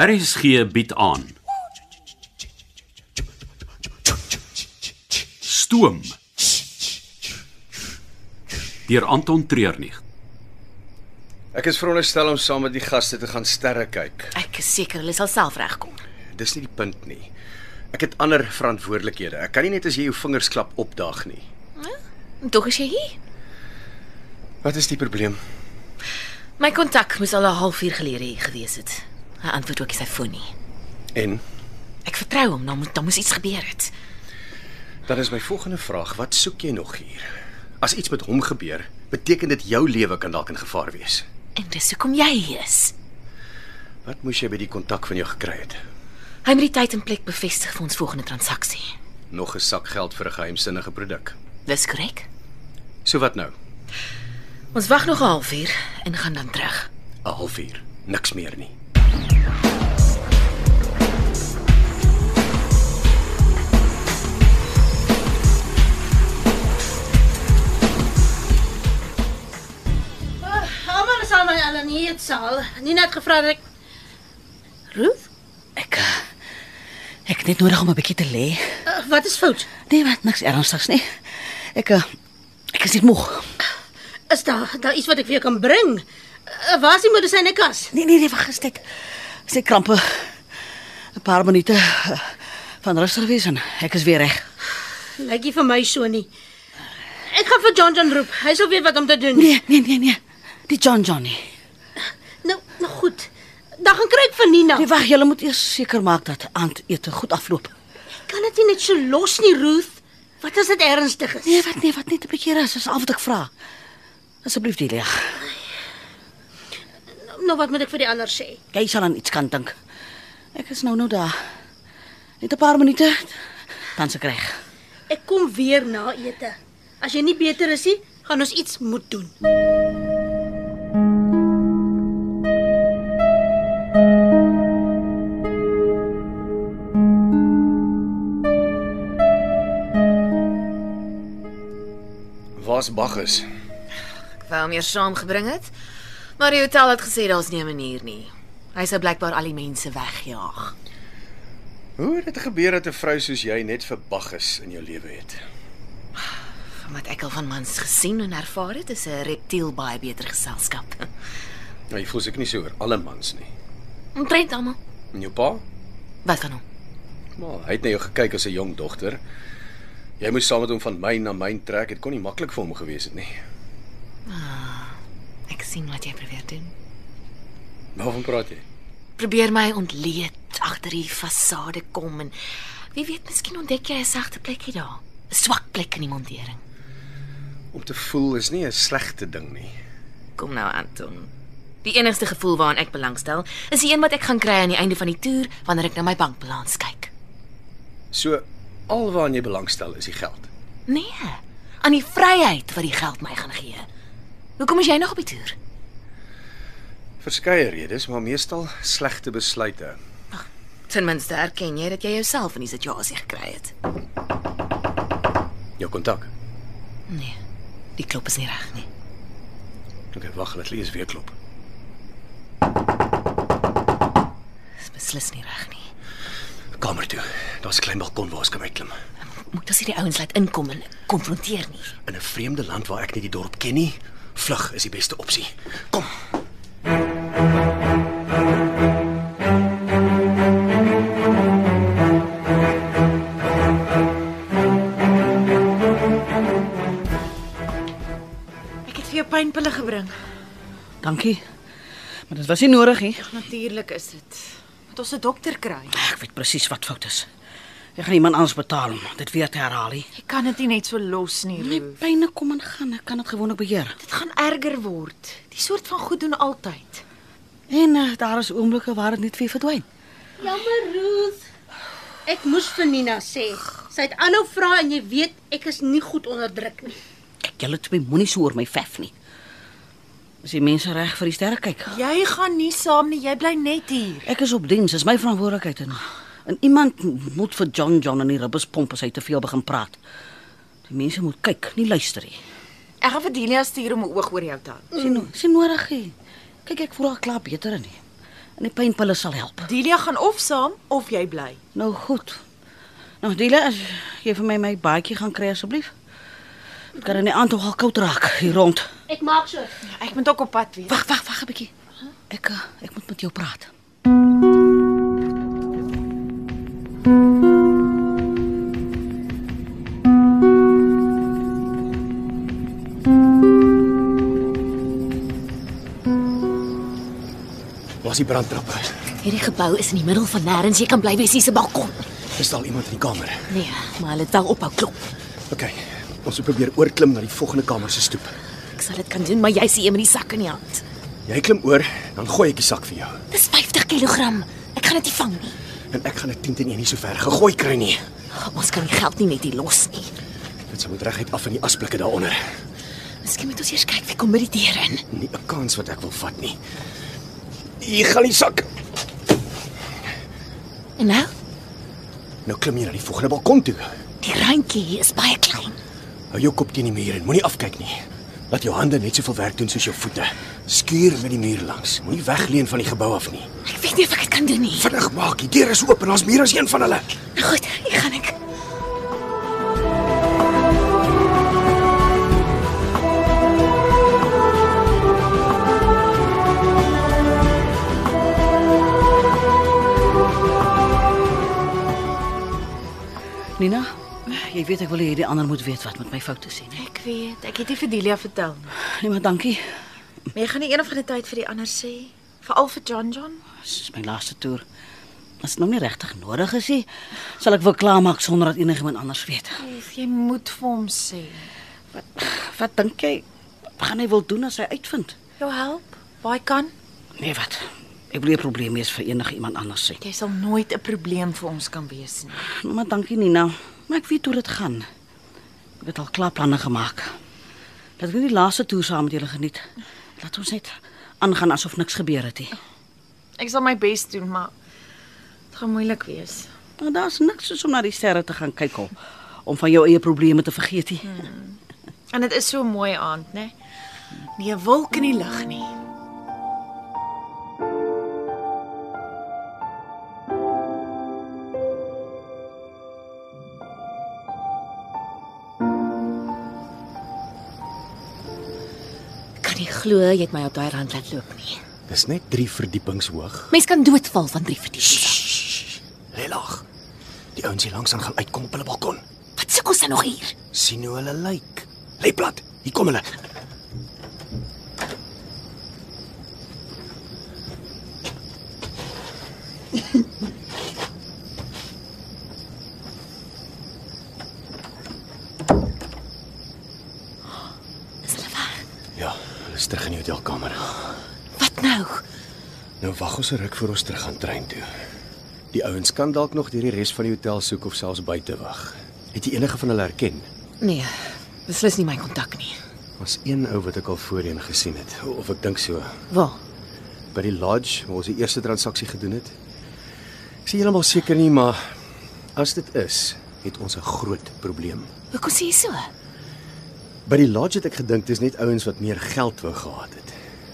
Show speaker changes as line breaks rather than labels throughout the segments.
RSG bied aan. Stoom. Deur Anton Treurnig.
Ek is veronderstel om saam met die gaste te gaan sterre kyk.
Ek is seker hulle sal self regkom.
Dis nie die punt nie. Ek het ander verantwoordelikhede. Ek kan nie net as jy jou vingers klap opdaag nie.
En Tog is jy hier.
Wat is die probleem?
My kontak moes al 'n halfuur gelede hier gewees het. Hy antwoord ook nie sy foon nie.
En
Ek vertrou hom, nou moet dan moes iets gebeur het.
dan is my volgende vraag, wat soek jy nog hier? As iets met hom gebeur, beteken dit jou lewe kan dalk in gevaar wees.
En dis hoekom jy hier is.
Wat moes jy by die kontak van jou gekry het?
Hy moet die tyd en plek bevestig vir ons volgende transaksie.
Nog 'n sak geld vir 'n geheimsinnige produk.
Dis korrek.
So wat nou?
Ons wag nog 'n halfuur en gaan dan terug.
'n Halfuur. Niks meer nie.
Almal is al my al in die eetsaal. Nina het gevra dat ek Ruth,
Ek eh, ek het net nodig om 'n bietjie te lê.
uh, wat is fout?
Nee, wat niks ernstigs nie. Ek eh, ek is net moeg.
Is daar daar iets wat ek vir jou kan bring? Uh, waar is die medisynekas?
Nee, nee, nee, vergis dit. Sy krampe. 'n Paar minute eh, van rustig wees en ek is weer reg.
Lyk nie vir my so nie. Ek gaan vir John John roep. Hy sal weet wat om te doen.
Nee, nee, nee, nee. Die John Johnny.
Nou, nou goed. Dan gaan kry ek vir Nina.
Nee, wag, jy moet eers seker maak dat aandete goed afloop.
Kan dit nie net so los nie, Ruth? Wat as dit ernstig is?
Nee, wat nee, wat net 'n bietjie rus, dis al wat ek vra. Asseblief, Delia.
Nou wat moet ek vir die ander sê?
Jy sal aan iets kan dink. Ek is nou nou daar. Net 'n paar minute dan se reg.
Ek kom weer na ete. As jy nie beter is nie, gaan ons iets moet doen.
Waar's Bagges?
Ek wou hom hier saamgebring het, maar die hotel het gesê daar's nie 'n manier nie. Hy sou blykbaar al die mense wegjaag.
Hoe het dit gebeur dat 'n vrou soos jy net vir Bagges in jou lewe het?
Van wat ek al van mans gesien en ervaar het, is 'n reptiel baie beter geselskap.
Nou jy voel seker nie so oor alle mans nie.
Omtrent almal.
En jou pa?
Wat van hom?
Maar hy het na jou gekyk as 'n jong dogter. Jy moes saam met hom van myn na myn trek. Dit kon nie maklik vir hom gewees het nie.
Ek sien wat jy probeer doen.
Waarvan praat jy?
Probeer my ontleed agter die fasade kom en wie weet, miskien ontdek jy 'n sagte plekkie daar. 'n Swak plek in die montering.
Om te voel is nie 'n slegte ding nie.
Kom nou, Anton. Die enigste gevoel waaraan ek belangstel, is die een wat ek gaan kry aan die einde van die toer wanneer ek na my bankbalans kyk.
So alwaar jy belangstel is die geld.
Nee, aan die vryheid wat die geld my gaan gee. Hoekom is jy nog op die toer?
Verskeie redes, maar meestal slegte besluite.
Ten minste erken jy dat jy jouself in die situasie gekry het.
Jou kontak.
Nee, die klop is nie reg nie.
Okay, wag, laat lees weer klop.
Dis beslis nie reg nie.
Kamer toe. Daar's 'n klein balkon waar ons kan uitklim.
Moet ons hierdie ouens laat inkom en konfronteer nie.
In 'n vreemde land waar ek nie die dorp ken nie, vlug is die beste opsie. Kom.
Ek het vir jou pynpille gebring.
Dankie. Maar dit was nie nodig nie.
Natuurlik is dit. Moet ons 'n dokter kry.
Ek weet presies wat fout is. Ek gaan iemand anders betaal om dit weer te herhaal. nie.
Ek kan dit nie net so los nie,
My
Roo.
pyne kom en gaan, ek kan dit gewoonlik beheer.
Dit gaan erger word. Die soort van goed doen altyd.
En uh, daar is oomblikke waar dit net weer verdwyn.
Jammer, Ruth. Ek moes vir Nina sê. Sy het aanhou vra en jy weet ek is nie goed onderdruk nie.
Kyk, julle twee moenie so oor my vef nie. As die mense reg vir die sterre kyk.
Jy gaan nie saam nie. Jy bly net hier.
Ek is op diens, dis my verantwoordelikheid en en iemand moet vir John John en die ribbes pomp as hy te veel begin praat. Die mense moet kyk, nie luister nie.
Ek gaan vir Delia stuur om 'n oog oor jou te hou.
Sien, mm. sien nodig nie. Kyk, ek voel al klaar beter in nie. En die pynpille sal help.
Delia gaan of saam of jy bly.
Nou goed. Nou Dila, as jy vir my my baadjie gaan kry asseblief. Dit kan in die aand tog al koud raak hier rond.
Ek maak so.
Ek moet ook op pad wees.
Wag, wag, wag 'n bietjie. Ek eh, ek moet met jou praat.
Was die brandtrappe?
Hierdie gebou is in die middel van nêrens. Jy kan bly wees hier se balkon.
Is daar iemand in die kamer?
Nee, maar hulle het wel ophou klop.
OK. Ons moet probeer oorklim na die volgende kamer se stoep.
Ek sal dit kan doen, maar jy's hier met die sak in die hand.
Jy klim oor, dan gooi ek die sak vir jou.
Dis 50 kg. Ek gaan dit nie vang nie.
En ek gaan dit 10 teen 1 nie so ver gegooi kry nie.
Ons kan die geld nie net hier los nie.
Dit sal moet reguit af in die asblikke daaronder.
Miskien moet ons eers kyk wie kom by die deur in.
Nie 'n kans wat ek wil vat nie. Hier gaan die sak.
En nou,
Nou klim jy na die volgende balkon toe.
die randjie hier is baie klein.
Hou jou kop teen die muur en moenie afkyk nie. Laat jou hande net soveel werk doen soos jou voete. Skuur met die muur langs. Moenie wegleun van die gebou af nie.
Ek weet nie of ek dit kan doen nie.
Vinnig maak, die deur is oop en ons muur is een van hulle.
Nou goed, ek gaan ek.
Nina, jy weet ek wil hê die ander moet weet wat met my foute is, hè.
Ek weet, ek het dit vir Delia vertel. nie.
Nee, maar dankie.
Maar jy gaan nie eendag van die tyd vir die ander sê, veral vir John John.
Dis my laaste toer. As dit nou nie regtig nodig is nie, sal ek wel klaarmaak sonder dat enigiemand anders weet.
Of jy moet vir hom sê.
Wat dink jy gaan hy wil doen as hy uitvind?
Jou help, baie kan.
Nee, wat? Ek wil nie 'n probleem wees vir enige iemand anders sê.
Jy sal nooit 'n probleem vir ons kan wees nie.
Nou, maar dankie Nina. Maar ek weet hoe dit gaan. Ek het al klaar planne gemaak. Dat ek nie die laaste toer saam met julle geniet. Laat ons net aangaan asof niks gebeur het nie.
Ek sal my bes doen, maar dit gaan moeilik wees.
Maar Nou, daar's niks soos om na die sterre te gaan kyk om om van jou eie probleme te vergeet nie.
En dit is so 'n mooi aand, né? Nie 'n Nee, wolk in die lug nie.
Ek kan nie glo jy het my op daai rand laat loop nie.
Dis net 3 verdiepings hoog.
Mens kan doodval van drie verdiepings.
Lê laag. Die ouens hier langs aan gaan uitkom op hulle balkon.
Wat soek ons dan nog hier?
sien hoe hulle lyk. Lê plat. Hier kom hulle.
Is hulle weg?
Ja, hulle is terug in die hotelkamer.
Wat nou?
Nou wag ons 'n ruk voor ons terug gaan trein toe. Die ouens kan dalk nog deur die res van die hotel soek of selfs buite wag. Het jy enige van hulle herken?
Nee, beslis nie my kontak nie.
Was een ou wat ek al voorheen gesien het, of ek dink so,
Waar?
by die lodge waar ons die eerste transaksie gedoen het. Ek is heeltemal seker nie, maar as dit is, het ons 'n groot probleem.
Hoekom sê jy so?
By die lodge het ek gedink dis net ouens wat meer geld wou gehad het.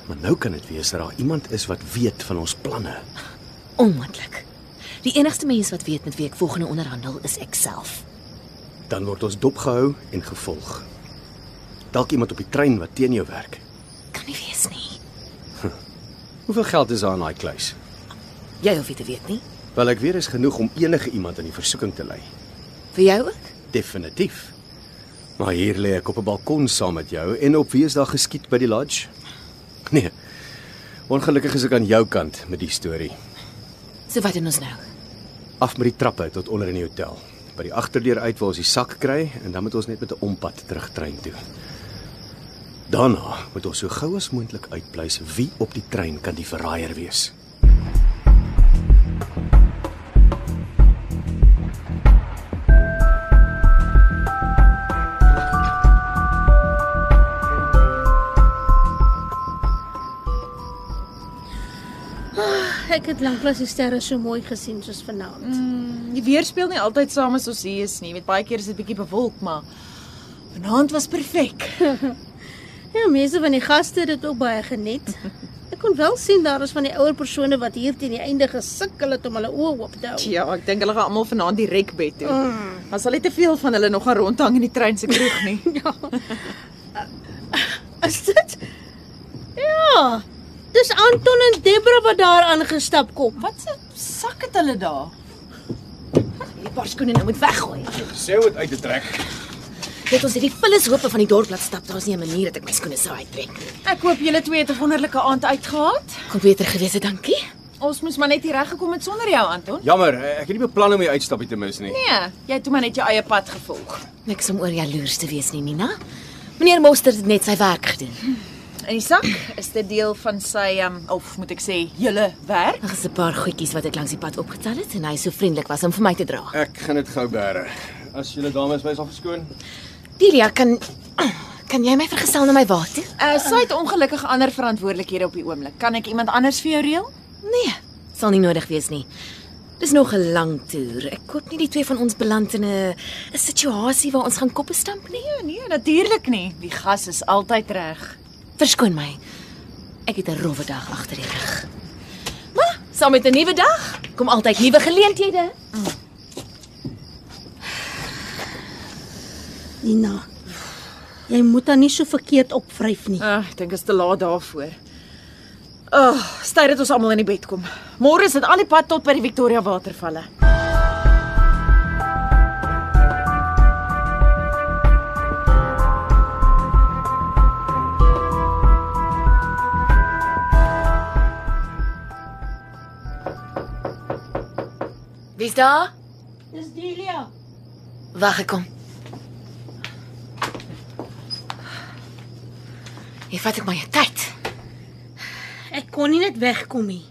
Maar nou kan dit wees dat daar iemand is wat weet van ons planne.
Onmoontlik. Die enigste mens wat weet met wie ek volgende onderhandel is ek self.
Dan word ons dopgehou en gevolg. Dalk iemand op die trein wat teen jou werk.
Kan nie wees nie.
Hoeveel geld is daar in daai kluis?
Jy hoef dit te weet nie.
Wel ek weet is genoeg om enige iemand in die versoeking te lei.
Vir jou ook?
Definitief. Maar hier lê ek op 'n balkon saam met jou en op Woensdag geskiet by die lodge. Nee. Ongelukkig is ek aan jou kant met die storie.
So wat doen ons nou?
Af met die trappe tot onder in die hotel. By die agterdeur uit waar ons die sak kry en dan moet ons net met 'n ompad terug trein toe. Daarna moet ons so gou as moontlik uitpleis wie op die trein kan die verraaier wees.
Ek het lanklaas die sterre so mooi gesien soos vanaand. Mm.
Die weer speel nie altyd saam as ons hier is nie. Met baie keer is dit bietjie bewolk, maar vanaand was perfek.
Ja, mense van die gaste het dit ook baie geniet. Ek kon wel sien daar is van die ouer persone wat hier teen die einde gesukkel het om hulle oë oop te hou.
Ja, ek dink hulle gaan almal vanaand direk bed toe. Ons sal nie te veel van hulle nog gaan rondhang in die trein se kroeg nie.
Is dit? Ja. Dis Anton en Debra wat daar aangestap kom.
Wat 'n sak het hulle daar? Hierdie paar skoene nou moet weggooi.
Sê hoe dit uit te trek.
Dit ons hierdie vullishope van die dorp laat stap. Daar's nie 'n manier dat ek my skoene sou uittrek nie.
Ek hoop julle twee het 'n wonderlike aand uitgehad.
Kon beter gewees het, dankie.
Ons moes maar net hier reggekom het sonder jou, Anton.
Jammer, ek het nie beplan om die uitstappie te mis nie.
Nee, jy het toe maar net jou eie pad gevolg.
Niks om oor jaloers te wees nie, Nina. Meneer Mostert het net sy werk gedoen.
In die sak is dit deel van sy um, of moet ek sê, julle werk.
Daar is 'n paar goedjies wat ek langs die pad opgetel het en hy is so vriendelik was om vir my te dra.
Ek gaan dit gou bære. As julle dames wys al verskoon.
Delia, kan kan jy my vergesel na my wa toe?
Uh, sy het ongelukkig ander verantwoordelikhede op die oomblik. Kan ek iemand anders vir jou reël?
Nee, sal nie nodig wees nie. Dis nog 'n lang toer. Ek hoop nie die twee van ons beland in 'n 'n situasie waar ons gaan koppe stamp nie.
Nee, nee, natuurlik nie. Die gas is altyd reg.
Verskoon my. Ek het 'n rowwe dag agter die rug. Maar saam met 'n nuwe dag kom altyd nuwe geleenthede.
Nina. Jy moet haar nie so verkeerd opvryf nie.
Ag, Ah, ek dink dit is te laat daarvoor. Ag, oh, styr dit ons almal in die bed kom. Môre is dit al die pad tot by die Victoria watervalle.
Wie's daar?
Dis Delia.
Wag ek kom. Hier vat ek my tyd.
Ek kon nie net wegkom nie.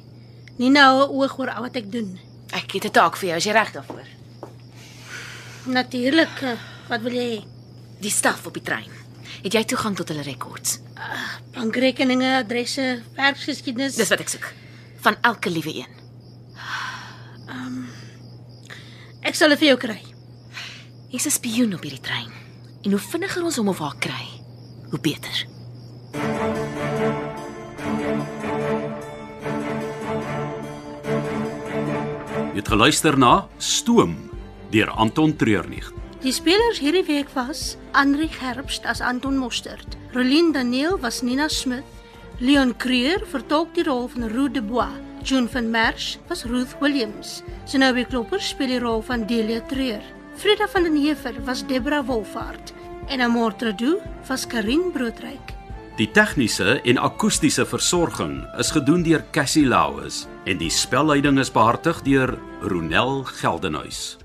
Nina hou 'n oog oor wat ek doen.
Ek het 'n taak vir jou, as jy reg daarvoor.
Natuurlik. eh, Wat wil jy hê?
Die staf op die trein. Het jy toegang tot hulle rekords?
Bankrekeninge, adresse, werksgeskiedenis.
Dis wat ek soek. Van elke liewe een.
Ek sal dit vir jou kry.
Hier's 'n spioen op hierdie trein. En hoe vinniger ons hom of haar kry, hoe beter.
Jy het geluister na Stoom deur Anton Treurnig.
Die spelers hierdie week was Andri Gerbst as Anton Mostert, Rolien Daniel was Nina Smith, Leon Creer vertolk die rol van Roo de Bois, June van Merch was Ruth Williams, Sinobe Klopper speel die rol van Delia Treur, Frida van den Heever was Debra Wolfhard en Amortredu was Karin Broodryk.
Die tegniese en akoestiese versorging is gedoen deur Cassie Lauis en die spelleiding is behartig deur Ronel Geldenhuys.